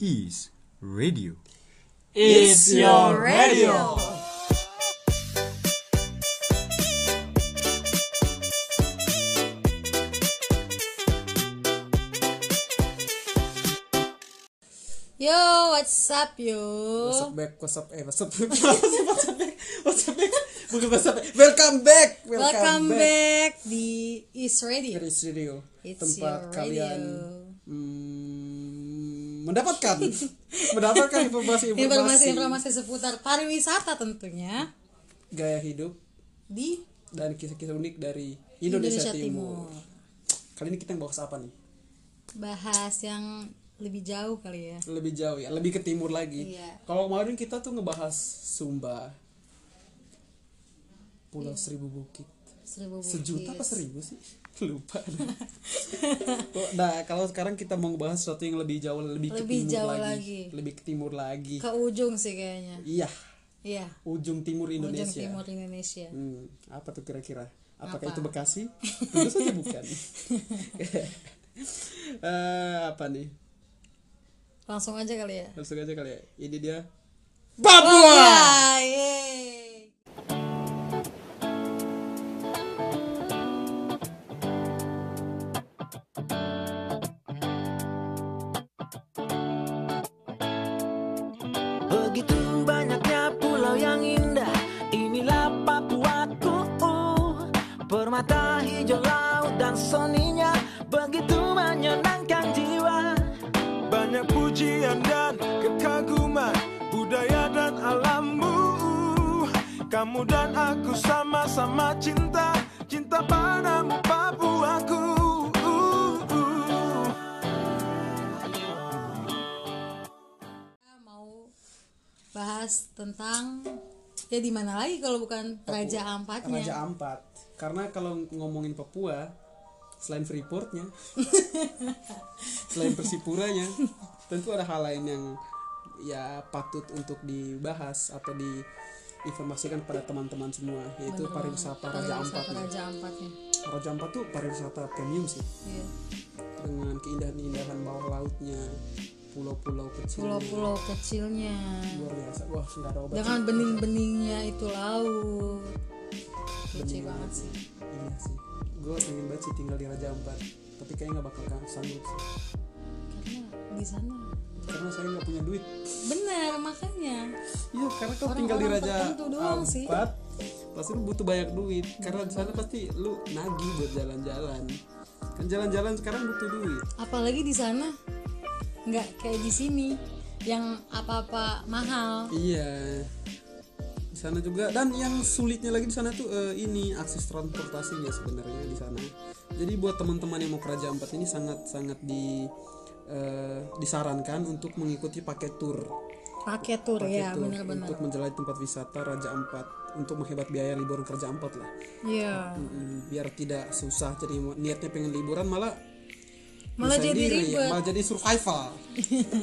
is radio. It's your radio. Yo, what's up yo? What's up back? What's up? Eh, what's up? What's up back? What's up back? Bukan what's up. back. Welcome back. Welcome back. di Is Radio. Dari studio It's tempat your radio. kalian mm, mendapatkan mendapatkan informasi informasi, Informasi-informasi seputar pariwisata tentunya gaya hidup di dan kisah-kisah unik dari Indonesia, Indonesia, Timur. Timur. Kali ini kita bahas apa nih? Bahas yang lebih jauh kali ya. Lebih jauh ya, lebih ke timur lagi. Iya. Kalau kemarin kita tuh ngebahas Sumba, Pulau Seribu Bukit. Seribu bukit. sejuta apa seribu sih lupa nah kalau sekarang kita mau ngebahas sesuatu yang lebih jauh lebih, ke Lebih timur jauh lagi. lagi. lebih ke timur lagi Ke ujung sih kayaknya. iya Iya. ujung timur Indonesia Ujung timur Indonesia. Hmm, apa tuh kira-kira apakah Apa? itu Bekasi tentu saja bukan Eh, apa nih Langsung aja kali ya. langsung aja kali ya ini dia Papua. Papua yeay. Begitu banyaknya pulau yang indah Inilah Papuaku Permata hijau laut dan soninya Begitu menyenangkan jiwa Banyak pujian dan kekaguman Budaya dan alammu Kamu dan aku sama-sama cinta Cinta padamu Papuaku Kita mau bahas tentang ya di mana lagi kalau bukan Raja Ampatnya. Raja Ampat karena kalau ngomongin Papua selain Freeportnya selain Persipuranya tentu ada hal lain yang ya patut untuk dibahas atau diinformasikan pada teman-teman semua yaitu Bener pariwisata banget. Raja Pariwisata Ampat nih. Raja Ampatnya. Raja Ampat tuh pariwisata premium sih Iya. dengan keindahan-keindahan bawah lautnya pulau-pulau kecil Pulau-pulau kecilnya. luar biasa wah nggak ada obat Dengan bening-beningnya itu laut. Kece banget sih. iya sih gue pengen banget sih tinggal di Raja Ampat tapi kayaknya nggak bakal sanggup sih Karena di sana karena saya nggak punya duit benar makanya iya karena kalau Orang-orang tinggal di Raja tertentu doang sih. Ampat pasti lu butuh banyak duit karena di sana pasti lu nagih buat jalan-jalan kan jalan-jalan sekarang butuh duit apalagi di sana nggak kayak di sini yang apa-apa mahal iya di sana juga dan yang sulitnya lagi di sana tuh eh, ini akses transportasinya sebenarnya di sana jadi buat teman-teman yang mau ke Raja Ampat ini sangat sangat di eh, disarankan untuk mengikuti paket tur paket tour paket ya tur benar-benar untuk menjelajahi tempat wisata Raja Ampat untuk menghemat biaya liburan kerja Ampat lah iya Mm, biar tidak susah jadi mau- niatnya pengen liburan malah malah nyusahin jadi diri, ribet malah jadi survival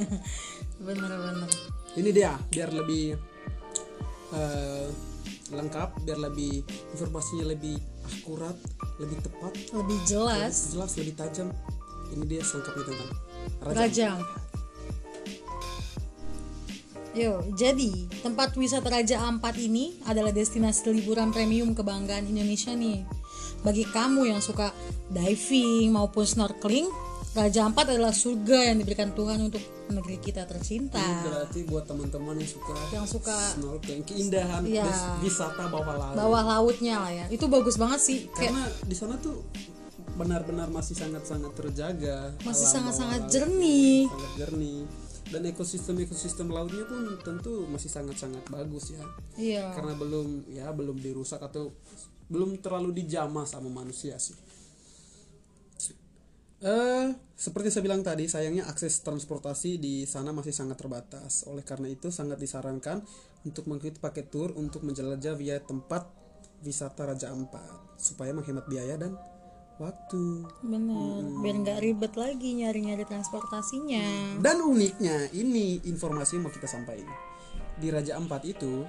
bener-bener ini dia biar lebih eh, lengkap biar lebih informasinya lebih akurat lebih tepat lebih jelas jelas lebih tajam ini dia selengkapnya tentang Raja, Raja Ampat. Yo, jadi tempat wisata Raja Ampat ini adalah destinasi liburan premium kebanggaan Indonesia nih. Bagi kamu yang suka diving maupun snorkeling, Raja Ampat adalah surga yang diberikan Tuhan untuk negeri kita tercinta. Ini berarti buat teman-teman yang suka Yang suka snorkeling keindahan Iya. wis- wisata bawah laut Bawah lautnya lah ya. Itu bagus banget sih. Kayak karena di sana tuh benar-benar masih sangat-sangat terjaga masih alam sangat-sangat bawah laut, jernih. sangat jernih dan ekosistem ekosistem lautnya pun tentu masih sangat-sangat bagus ya Iya. karena belum ya belum dirusak atau belum terlalu dijamah sama manusia sih eh seperti saya bilang tadi sayangnya akses transportasi di sana masih sangat terbatas oleh karena itu sangat disarankan untuk mengikuti paket tur untuk menjelajah via tempat wisata Raja Ampat supaya menghemat biaya dan waktu Bener, biar nggak ribet lagi nyari-nyari transportasinya. Dan uniknya ini informasi yang mau kita sampaikan. Di Raja Ampat itu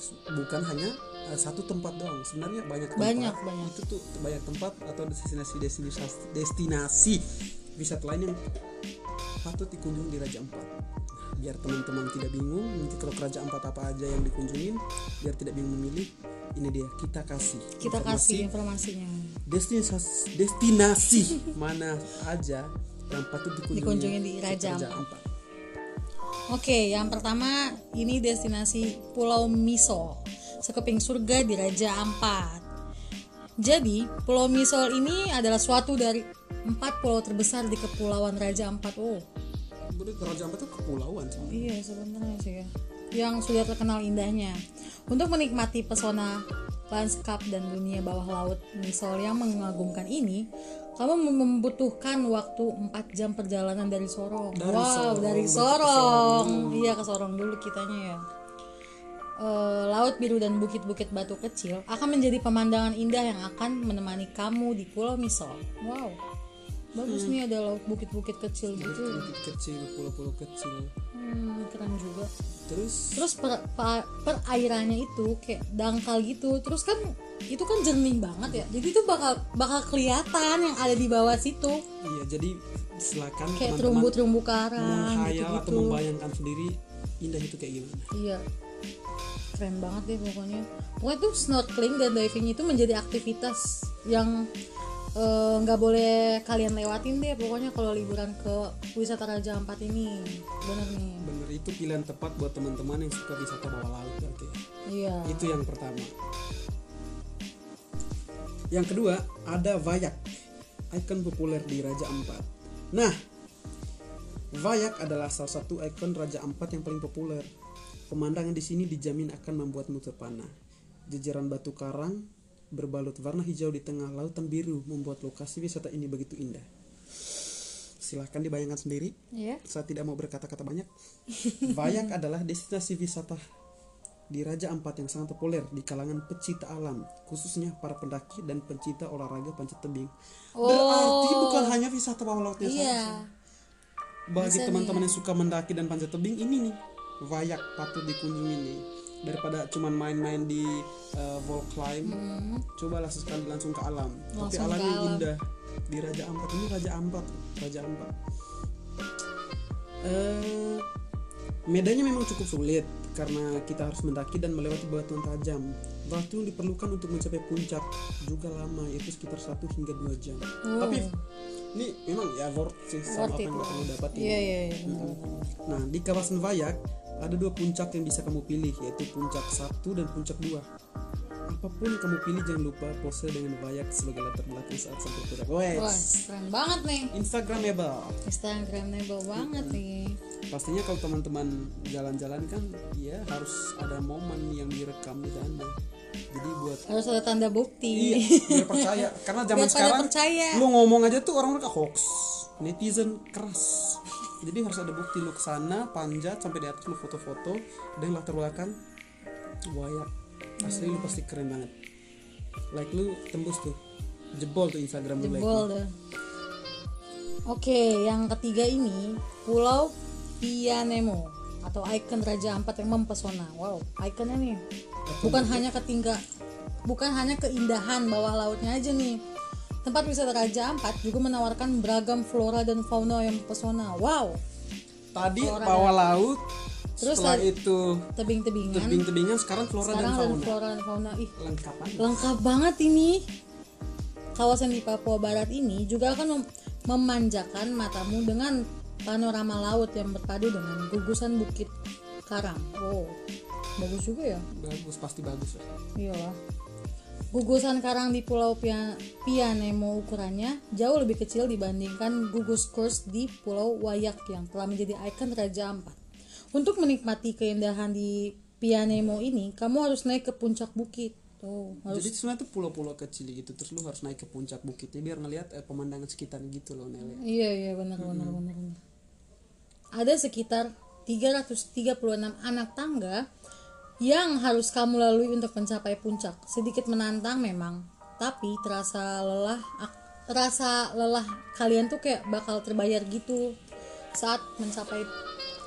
s- bukan hanya eh, satu tempat doang, sebenarnya banyak tempat. Banyak, banyak. Itu tuh banyak tempat atau destinasi destinasi destinasi wisata lain yang patut dikunjungi di Raja Ampat. biar teman-teman tidak bingung nanti kalau kerajaan empat apa aja yang dikunjungin biar tidak bingung memilih ini dia kita kasih kita kasih informasinya destinasi, destinasi mana aja yang patut dikunjungi, Dikunjungi di Raja Ampat. Oke, yang pertama ini destinasi Pulau Misol, sekeping surga di Raja Ampat. Jadi, Pulau Misol ini adalah suatu dari empat pulau terbesar di Kepulauan Raja Ampat. Oh, Berarti Raja Ampat itu kepulauan sih. iya sebenarnya sih ya. Yang sudah terkenal indahnya. Untuk menikmati pesona lanskap dan dunia bawah laut Misol yang mengagumkan ini, kamu mem- membutuhkan waktu 4 jam perjalanan dari Sorong. Dari wow, Sorong, berarti dari ke Sorong. Iya ke Sorong dulu kitanya ya. Eh, laut biru dan bukit-bukit batu kecil akan menjadi pemandangan indah yang akan menemani kamu di Pulau Misol. Wow. Hmm. Bagus nih ada laut bukit-bukit kecil gitu. Bukit kecil, pulau-pulau kecil. Hmm, keren juga. Terus Terus per, pa- perairannya itu kayak dangkal gitu. Terus kan itu kan jernih banget ya. Jadi itu bakal bakal kelihatan yang ada di bawah situ. iya jadi silakan teman-teman Kayak terumbu-terumbu karang menghayal atau gitu-gitu. membayangkan sendiri indah itu kayak gimana. Iya. Keren banget deh pokoknya. Pokoknya tuh snorkeling dan diving itu menjadi aktivitas yang eh, nggak boleh kalian lewatin deh pokoknya kalau liburan ke wisata Raja Ampat ini. Bener nih. Bener itu pilihan tepat buat teman-teman yang suka wisata bawah laut berarti. ya. Iya. Itu yang pertama. Yang kedua ada Vayak, ikon populer di Raja Ampat. Nah, Vayak adalah salah satu ikon Raja Ampat yang paling populer. Pemandangan di sini dijamin akan membuatmu terpana. Jejeran batu karang berbalut warna hijau di tengah lautan biru membuat lokasi wisata ini begitu indah. Silahkan dibayangkan sendiri Iya. saya tidak mau berkata-kata banyak. Bayak adalah destinasi wisata di Raja Ampat yang sangat populer di kalangan pecinta alam, khususnya para pendaki dan pencinta olahraga panjat tebing. Berarti Oh. bukan hanya wisata bawah lautnya Iya. saja. Bagi Bisa teman-teman yang suka mendaki dan panjat tebing ini nih, Bayak patut dikunjungi nih. Daripada cuman main-main di eh, wall climb, cobalah sekali langsung ke alam. Tapi Hmm. Langsung ke alamnya alam. indah di Raja Ampat ini Raja Ampat, Raja Ampat. Eh, medannya memang cukup sulit karena kita harus mendaki dan melewati batuan tajam. Batu yang diperlukan untuk mencapai puncak juga lama, yaitu sekitar 1 hingga 2 jam. Oh. Tapi ini memang ya worth sih sama apa Worth it yang lah. bakal lo dapatin. Iya iya iya. bener. Nah, di kawasan Vayak ada dua puncak yang bisa kamu pilih, yaitu puncak 1 dan puncak 2. Apapun yang kamu pilih jangan lupa pose dengan Vayak sebagai latar belakang saat sampai puncak. Wah, Wes. keren banget nih. Instagramable. Instagramable banget nih. pastinya kalau teman-teman jalan-jalan kan ya harus ada momen yang direkam di sana jadi buat Harus ada tanda iya bukti. biar percaya karena zaman Biar pada sekarang percaya. lu ngomong aja tuh orang mereka hoax netizen keras jadi harus ada bukti lu kesana panjat sampai di atas lu foto-foto dan latar belakang wayak asli lu pasti keren banget like lu tembus tuh jebol tuh Instagram lu like Jebol dah. Oke, yang ketiga ini Pulau Pianemo atau ikon Raja Ampat yang mempesona. Wow, ikonnya nih. Bukan hanya ketingga, bukan hanya keindahan bawah lautnya aja nih. Tempat wisata Raja Ampat juga menawarkan beragam flora dan fauna yang mempesona. Wow, tadi Flora bawah laut Terus setelah tadi- itu tebing-tebingan. tebing-tebingan sekarang flora dan Sekarang ada fauna flora dan fauna. Ih, lengkap aja. lengkap banget ini. Kawasan di Papua Barat ini juga akan mem- memanjakan matamu dengan panorama laut yang berpadu dengan gugusan bukit karang. Wow, bagus juga ya. bagus pasti bagus lah. Iyalah. Gugusan karang di Pulau Pia- Pianemo ukurannya jauh lebih kecil dibandingkan gugus kurs di Pulau Wayak yang telah menjadi ikon Raja Ampat. Untuk menikmati keindahan di Pianemo ini, kamu harus naik ke puncak bukit. Tuh, harus jadi sebenarnya tuh pulau-pulau kecil gitu terus lu harus naik ke puncak bukitnya biar ngelihat eh, pemandangan sekitar gitu loh Nele Iya iya benar benar benar. benar. Ada sekitar 336 anak tangga yang harus kamu lalui untuk mencapai puncak. Sedikit menantang memang, tapi terasa lelah ak- terasa lelah kalian tuh kayak bakal terbayar gitu saat mencapai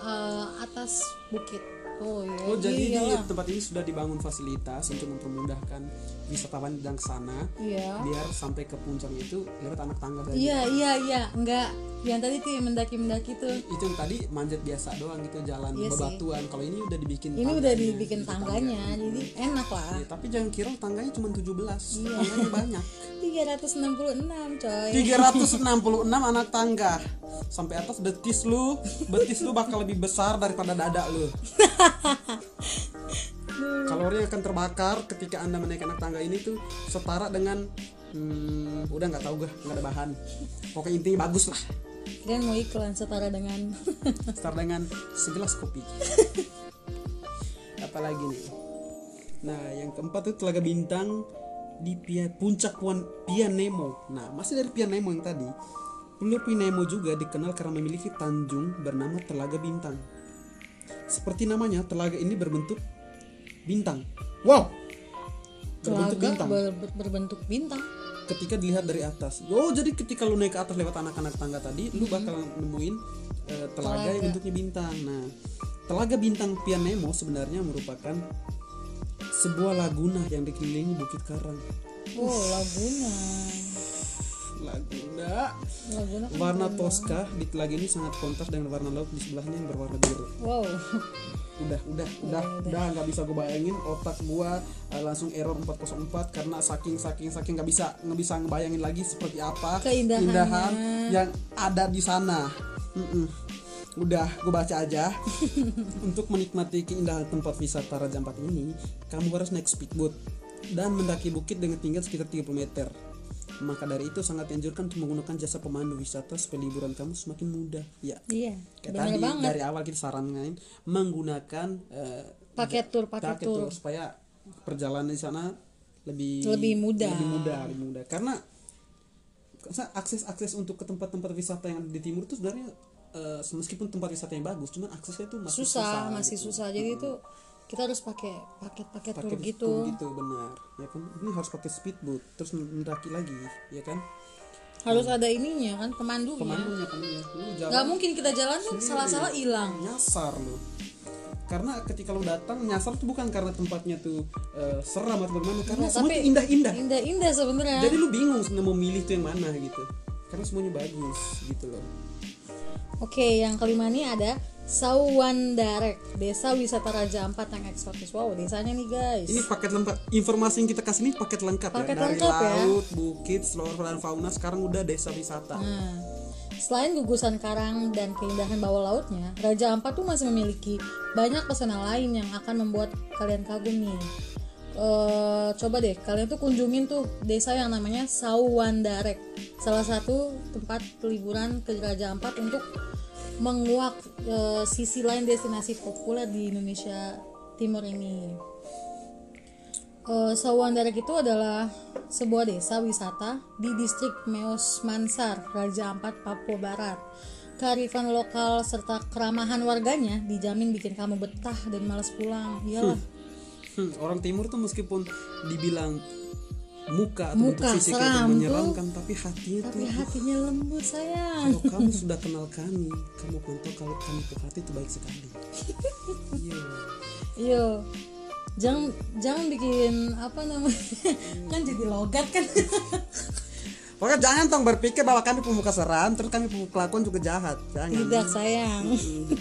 eh, atas bukit. Oh, iya. Oh jadi di iyalah. tempat ini sudah dibangun fasilitas untuk mempermudahkan wisatawan yang ke sana Iya. biar sampai ke puncaknya itu lewat anak tangga tadi. Iya, iya, iya. Enggak. Yang tadi tuh yang mendaki-mendaki tuh. Itu yang tadi manjat biasa doang gitu jalan Iya sih. bebatuan. Kalau ini udah dibikin Ini udah tangganya, dibikin gitu, tangganya, jadi enak lah. Ya, tapi jangan kira tangganya cuma 17. Iya. Tangganya banyak. 366 coy. 366 anak tangga. Sampai atas betis lu, betis lu bakal lebih besar daripada dada lu. Kalori yang akan terbakar ketika Anda menaiki anak tangga ini tuh setara dengan hmm, udah nggak tahu gue nggak ada bahan pokoknya intinya bagus lah Dan mau iklan setara dengan setara dengan segelas kopi apalagi nih nah yang keempat itu telaga bintang di Pia- puncak Puan, Pianemo nah masih dari Pianemo yang tadi Pulau Pianemo juga dikenal karena memiliki tanjung bernama telaga bintang seperti namanya telaga ini berbentuk bintang wow berbentuk telaga bintang ber- berbentuk bintang. ketika dilihat dari atas oh jadi ketika lu naik ke atas lewat anak-anak tangga tadi lu bakal nemuin eh, telaga yang Telaga. bentuknya bintang nah telaga bintang Pianemo sebenarnya merupakan sebuah laguna yang dikelilingi bukit karang Oh, laguna. laguna Laguna. kan warna keren toska di telaga ini sangat kontras dengan warna laut di sebelahnya yang berwarna biru banget. Wow. udah udah udah udah nggak bisa gue bayangin otak gua eh, langsung error 404 karena saking saking saking nggak bisa nggak bisa ngebayangin lagi seperti apa Keindahannya. keindahan yang ada di sana Mm-mm. udah gue baca aja untuk menikmati keindahan tempat wisata Raja Ampat ini kamu harus naik speedboat dan mendaki bukit dengan tinggi sekitar 30 meter maka dari itu sangat dianjurkan untuk menggunakan jasa pemandu wisata supaya liburan kamu semakin mudah ya Iya, Kayak bener tadi banget. dari awal kita sarankan menggunakan eh, Paket tur, paket paket tour tur. supaya perjalanan di sana lebih Lebih mudah. lebih mudah, lebih mudah. Karena sa- akses-akses untuk ke tempat-tempat wisata yang ada di timur itu sebenarnya eh, meskipun tempat wisatanya bagus, cuman aksesnya tuh masih susah, Susah, masih gitu. susah. Jadi itu kita harus pakai paket-paket tur Pakai gitu. tur gitu benar. Ya kan ini harus pakai speedboat terus mendaki lagi, ya kan? Harus ada ininya kan pemandunya. Pemandunya pemandunya. Lu jalan- Gak mungkin kita jalan tuh salah-salah hilang. Iya. nyasar lu karena ketika lu datang nyasar tuh bukan karena tempatnya tuh eh, seram atau bagaimana karena Nah, semua tapi tuh indah-indah Indah-indah sebenarnya. jadi lu bingung sebenarnya mau milih tuh yang mana gitu karena semuanya bagus gitu loh Oke, yang kelima ini ada Sawandarek, desa wisata Raja Ampat yang eksotis. Wow, desanya nih guys. ini paket lengkap informasi yang kita kasih ini paket lengkap Paket ya dari lengkap ya. laut bukit flora dan fauna sekarang udah desa wisata Nah, selain gugusan karang dan keindahan bawah lautnya, Raja Ampat tuh masih memiliki banyak pesona lain yang akan membuat kalian kagum nih. Eh, coba deh kalian tuh kunjungin tuh desa yang namanya Sawandarek, salah satu tempat liburan ke Raja Ampat untuk menguak eh, sisi lain destinasi populer di Indonesia Timur ini. Eh, Sawandarek itu adalah sebuah desa wisata di distrik Meos Mansar, Raja Ampat, Papua Barat. Kearifan lokal serta keramahan warganya dijamin bikin kamu betah dan malas pulang. Iyalah, Hmm, orang timur tuh meskipun dibilang muka atau Muka, bentuk fisiknya seram itu tuh. menyeramkan tapi hatinya tapi tuh hatinya lembut sayang. kalau kamu sudah kenal kami kamu akan tahu kalau kami itu hati itu baik sekali iya Yo, jangan jangan Iya. bikin apa namanya kan jadi logat kan. Pokoknya jangan tong berpikir bahwa kami pemuka seram terus kami pemuka kelakuan juga jahat. Jangan. Tidak sayang.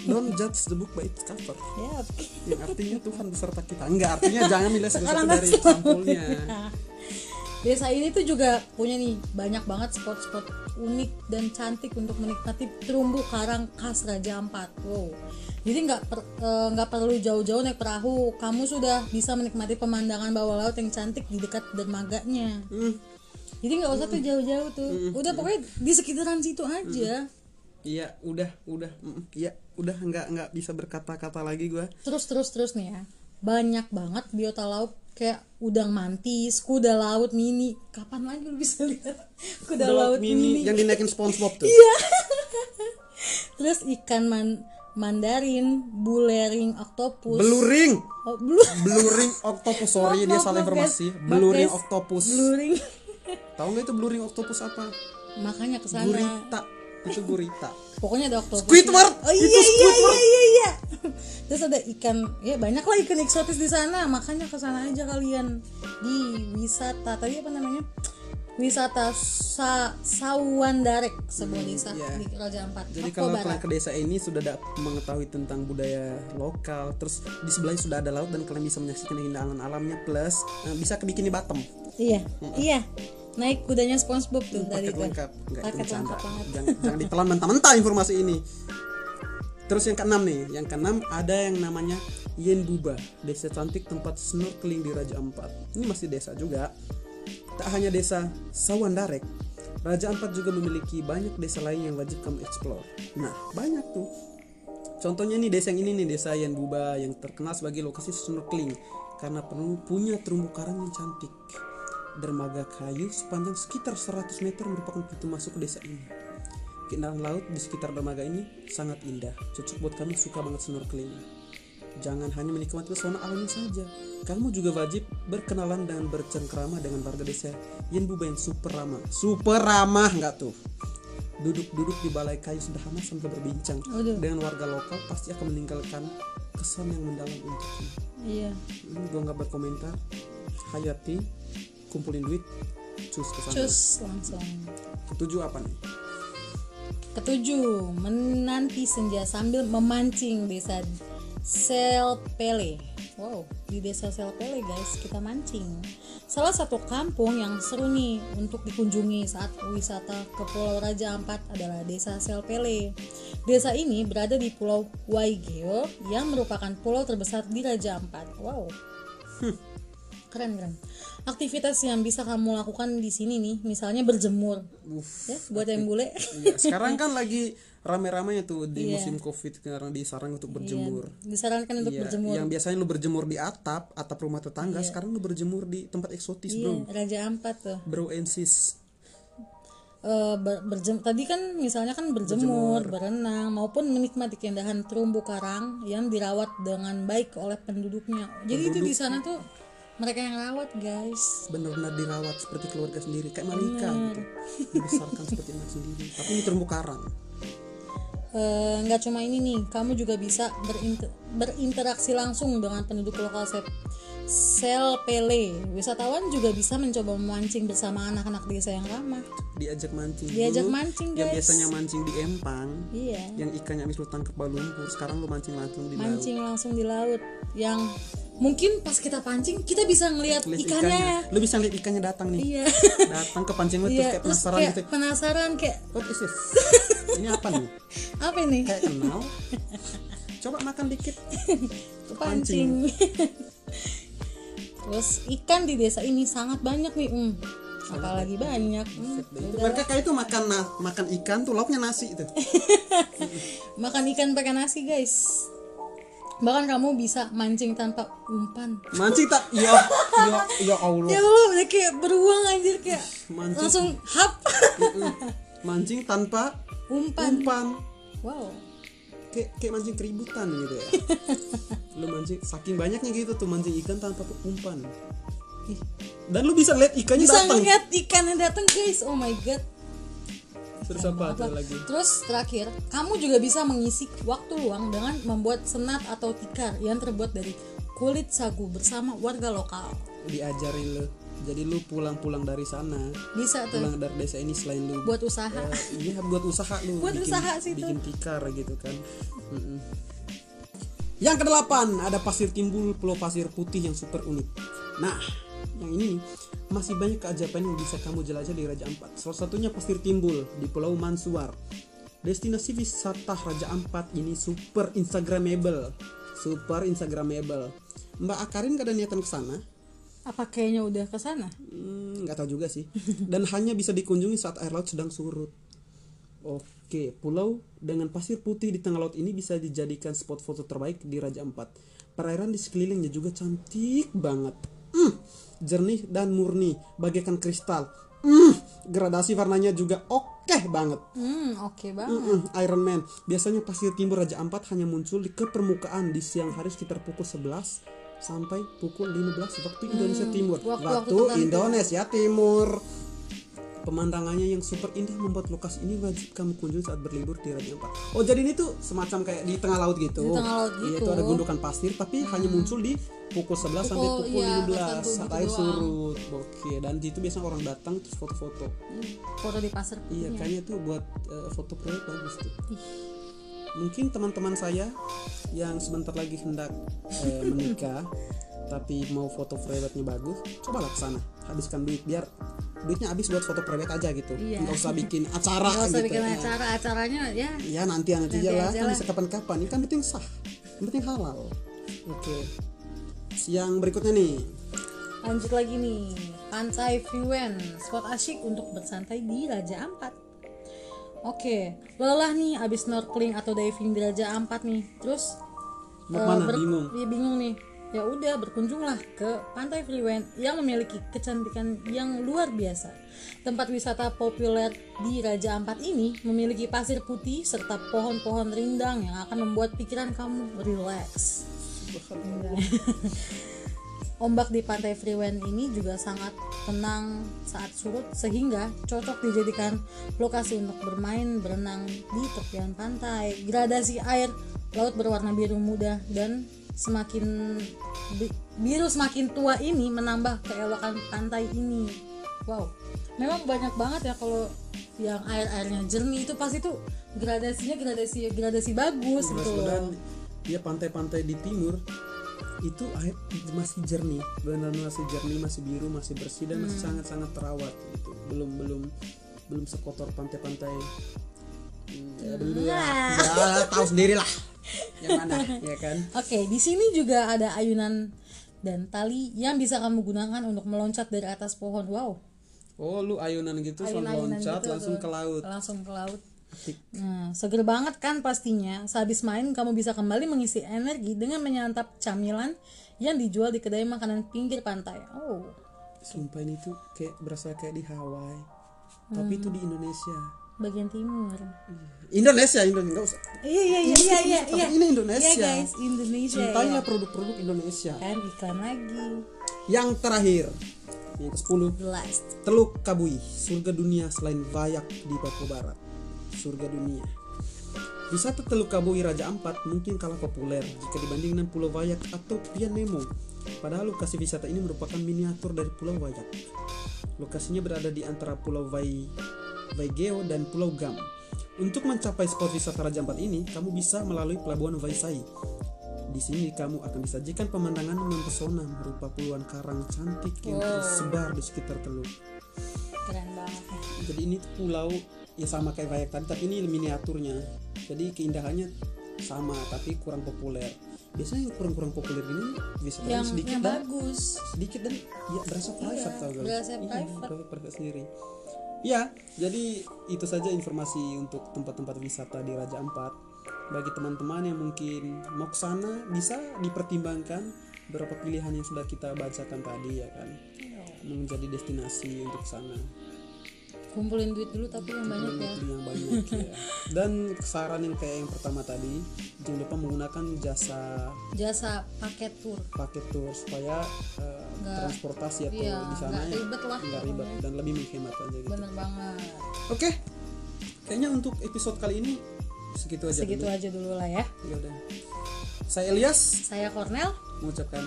Don't judge the book by its cover. Yap. Yang artinya Tuhan beserta kita. Enggak, artinya jangan nilai sesuatu Sekarang dari langsung. sampulnya. Nah, Desa ini tuh juga punya nih banyak banget spot-spot unik dan cantik untuk menikmati terumbu karang khas Raja Ampat. Wow. Jadi nggak per- eh, nggak perlu jauh-jauh naik perahu, kamu sudah bisa menikmati pemandangan bawah laut yang cantik di dekat dermaganya. Hmm, Jadi nggak usah tuh jauh-jauh tuh, udah pokoknya di sekitaran situ aja. Iya, udah, udah. Mm, Iya, udah enggak enggak bisa berkata-kata lagi gua. Terus terus terus nih ya, banyak banget biota laut kayak udang mantis, kuda laut mini. Kapan lagi lu bisa lihat kuda, laut, mini? yang dinaikin SpongeBob tuh. Terus ikan man- mandarin, bulering octopus. Beluring, Oh, blue. beluring octopus. Sorry, dia salah informasi. Beluring octopus. Beluring. Tahu nggak itu beluring octopus apa? Makanya kesana. Gurita. Itu gurita. Pokoknya ada octopus. Squidward! Oh, iya, Itu iya, Squidward! iya, iya, iya. terus ada ikan ya banyak lah ikan eksotis di sana makanya ke sana aja kalian di wisata tadi apa namanya wisata sa Sawandarek sebuah desa iya. di Raja Ampat Jadi Papua kalau Barat. kalian ke desa ini sudah ada mengetahui tentang budaya lokal, terus di sebelahnya sudah ada laut dan kalian bisa menyaksikan keindahan alamnya plus eh, bisa ke Bikini Batam. iya iya naik kudanya SpongeBob tuh tadi Paket tuh. lengkap, enggak itu paket bercanda. lengkap banget Jangan, jangan ditelan mentah-mentah informasi ini. Terus yang keenam nih, yang keenam ada yang namanya Yenduba, desa cantik tempat snorkeling di Raja Ampat. Ini masih desa juga. Tak hanya desa Sawandarek, Raja Ampat juga memiliki banyak desa lain yang wajib kamu explore. Nah, banyak tuh. Contohnya nih desa yang ini nih, desa Yenduba yang terkenal sebagai lokasi snorkeling karena penuh punya terumbu karang yang cantik. Dermaga kayu sepanjang sekitar 100 meter merupakan pintu masuk ke desa ini. Keindahan laut di sekitar dermaga ini sangat indah, cocok buat kamu yang suka banget snorkeling. Jangan hanya menikmati pesona alamnya saja, kamu juga wajib berkenalan dan bercengkrama dengan warga desa Yenbuba yang super ramah. Super ramah nggak tuh? Duduk-duduk di balai kayu sederhana sambil berbincang Aduh. dengan warga lokal pasti akan meninggalkan kesan yang mendalam untukmu. iya Ini gue nggak berkomentar. Hayati, kumpulin duit, cus ke sana. cus langsung Ketujuh apa nih? Ketujuh, menanti senja sambil memancing desa Selpele. Wow, di desa Selpele guys, kita mancing. Salah satu kampung yang seru nih untuk dikunjungi saat wisata ke Pulau Raja Ampat adalah desa Selpele. Desa ini berada di Pulau Waigeo yang merupakan pulau terbesar di Raja Ampat. Wow, keren keren. Aktivitas yang bisa kamu lakukan di sini nih, misalnya berjemur. Uff. Ya, buat yang bule. Iya, sekarang kan lagi rame-ramenya tuh di Iya. musim covid karena disarankan untuk berjemur. Iya, disarankan untuk Iya, berjemur. Yang biasanya lu berjemur di atap, atap rumah tetangga, sekarang lu berjemur di tempat eksotis, Iya, Bro. Raja Ampat tuh. Bro and sis. Eh, ber- berjem- tadi kan misalnya kan berjemur, berenang maupun menikmati keindahan terumbu karang yang dirawat dengan baik oleh penduduknya. Jadi itu di sana tuh mereka yang rawat, guys. benar-benar dirawat seperti keluarga sendiri, kayak malika Iya. gitu. Dibesarkan seperti anak sendiri. Tapi ini terumbu karang. Eh, nggak cuma ini nih, kamu juga bisa berinter- berinteraksi langsung dengan penduduk lokal Sep Sel Pele. Wisatawan juga bisa mencoba memancing bersama anak-anak desa yang ramah. Diajak mancing. Diajak dulu, mancing, Yang guys. biasanya mancing di empang, Iya. yang ikannya habis lu tangkap bau lumpur, sekarang lu mancing langsung di laut. mancing langsung di laut yang mungkin pas kita pancing kita bisa ngelihat Lihat ikannya, Lu bisa lihat ikannya datang nih. iya Datang ke pancing lu terus iya kayak penasaran kayak gitu. penasaran kayak What is this? Ini apa nih? apa nih Kayak kenal. Coba makan dikit. pancing terus ikan di desa ini sangat banyak nih um apalagi banyak Hmm, Itu udah. mereka kayak itu makan na- makan ikan tuh lauknya nasi itu. makan ikan pakai nasi guys bahkan kamu bisa mancing tanpa umpan Mancing tak? Ya, ya, ya ya Allah. Allah udah kayak beruang anjir kayak Mancing. langsung hap Mancing tanpa umpan umpan. wow Kayak, kayak mancing keributan gitu ya. Lu mancing saking banyaknya gitu tuh mancing ikan tanpa umpan. Ih, Dan lu bisa lihat ikannya bisa datang. ngeliat ikan yang datang guys oh my god Terus apa ada Apa? lagi? terus terakhir kamu juga bisa mengisi waktu luang dengan membuat senat atau tikar yang terbuat dari kulit sagu bersama warga lokal Diajarin lu. Jadi lu pulang-pulang dari sana, bisa tuh pulang dari desa ini selain lu buat usaha Iya buat usaha lu Buat usaha situ. bikin tikar gitu kan Mm-mm. yang kedelapan ada pasir timbul pulau pasir putih yang super unik nah yang ini nih masih banyak keajaiban yang bisa kamu jelajah di Raja Ampat salah satunya pasir timbul di Pulau Mansuar destinasi wisata Raja Ampat ini super instagramable super instagramable Mbak Akarin gak ada niatan kesana apa kayaknya udah ke sana Hmm, nggak tahu juga sih. Dan hanya bisa dikunjungi saat air laut sedang surut. Oke, pulau dengan pasir putih di tengah laut ini bisa dijadikan spot foto terbaik di Raja Ampat. Perairan di sekelilingnya juga cantik banget. Hmm, jernih dan murni, bagaikan kristal. Hmm, gradasi warnanya juga oke banget. hmm oke banget Mm-mm, Iron Man. Biasanya pasir timur Raja Ampat hanya muncul di ke permukaan di siang hari sekitar pukul 11 sampai Hmm, pukul 15 waktu Indonesia Timur. waktu- Waktu, waktu tertentu. Indonesia Timur. Pemandangannya yang super indah membuat lokasi ini wajib kamu kunjungi saat berlibur di Raja Ampat. Oh, jadi ini tuh semacam kayak di tengah laut gitu. Di tengah laut Iya, gitu. Hmm. itu ada gundukan pasir tapi hanya muncul di pukul 11 sampai Pukul, pukul iya, 15 tertentu saat gitu air doang. surut. Oke, dan di situ biasanya orang datang terus foto-foto. Hmm, foto di pasar Iya, punya. kayaknya tuh buat eh, foto proyek bagus tuh. Ih, Mungkin teman-teman saya yang sebentar lagi hendak eh, menikah tapi mau foto prewednya bagus, cobalah ke sana. Habiskan duit biar duitnya habis buat foto prewed aja gitu. Iya. Nggak usah bikin acara nggak usah gitu. bikin ya. acara acaranya ya Ya nanti nanti Nanti aja lah, aja kan lah. bisa kapan-kapan. Ini kan penting sah, yang penting halal. Oke. Siang berikutnya nih, lanjut lagi nih pantai Viwen spot asyik untuk bersantai di Raja Ampat Oke, lelah nih abis snorkeling atau diving di Raja Ampat nih. Terus mau Eh, mana ber- bingung? Iya bingung nih. Ya udah berkunjunglah ke Pantai Freewen yang memiliki kecantikan yang luar biasa. Tempat wisata populer di Raja Ampat ini memiliki pasir putih serta pohon-pohon rindang yang akan membuat pikiran kamu rileks. Ombak di Pantai Freewen ini juga sangat tenang saat surut sehingga cocok dijadikan lokasi untuk bermain berenang di tepian pantai. Gradasi air laut berwarna biru muda dan semakin bi- biru semakin tua ini menambah keelokan pantai ini. Wow, memang banyak banget ya kalau yang air-airnya jernih itu pasti tuh gradasinya gradasi gradasi bagus Mas gitu Bodan, loh. dia pantai-pantai di timur itu air masih jernih, benar-benar masih jernih, masih biru, masih bersih dan masih sangat-sangat terawat gitu. Belum belum belum sekotor pantai-pantai ya, belum Nah, lah. Ya, tahu sendiri lah yang mana ya kan Oke, di sini juga ada ayunan dan tali yang bisa kamu gunakan untuk meloncat dari atas pohon. Wow. oh lu ayunan gitu soal Ayun-ayunan loncat gitu langsung tuh. ke laut Langsung ke laut. Atik. Nah, seger banget kan pastinya. Sehabis main kamu bisa kembali mengisi energi dengan menyantap camilan yang dijual di kedai makanan pinggir pantai. Oh. sumpah ini tuh kayak berasa kayak di Hawaii tapi itu di Indonesia Bagian timur. Indonesia Indonesia nggak usah Iya iya iya iya iya. Tapi iya. ini Indonesia. Iya guys, Indonesia. cintailah produk-produk Indonesia ya. Kan iklan lagi. yang terakhir yang ke 10 The last. Teluk Kabui, surga dunia selain Bayak di Papua Barat. Surga dunia. Wisata Teluk Kabui Raja Ampat mungkin kalah populer jika dibanding dengan Pulau Wayak atau Pian Nemo. Padahal lokasi wisata ini merupakan miniatur dari Pulau Wayak. Lokasinya berada di antara Pulau Vai, Vaigeo dan Pulau Gam. Untuk mencapai spot wisata Raja Ampat ini, kamu bisa melalui Pelabuhan Vaisai. Di sini kamu akan disajikan pemandangan yang mempesona berupa puluhan karang cantik yang tersebar di sekitar teluk Keren banget. ya. jadi ini tuh pulau ya sama kayak Bayak tadi tapi ini miniaturnya jadi keindahannya sama tapi kurang populer biasanya yang kurang-kurang populer gini biasanya Yang sedikit yang dan bagus. sedikit dan ya berasa private tau gak? berasa Iya, private. private private sendiri ya jadi itu saja informasi untuk tempat-tempat wisata di Raja Ampat bagi teman-teman yang mungkin mau ke sana bisa dipertimbangkan beberapa pilihan yang sudah kita bacakan tadi ya kan Iya. menjadi destinasi untuk sana Kumpulin duit dulu tapi yang banyak ya. yang banyak ya. dan saran yang kayak yang pertama tadi jangan lupa menggunakan jasa jasa paket tour paket tour supaya eh, Nggak- transportasi atau iya, di sana nggak ya, ribet lah nggak ribet dan lebih menghemat aja gitu bener banget oke kayaknya untuk episode kali ini segitu aja segitu dulu. aja dulu lah ya Ya udah. saya Elias saya Cornel mengucapkan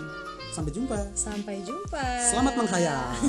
sampai jumpa sampai jumpa selamat menghayal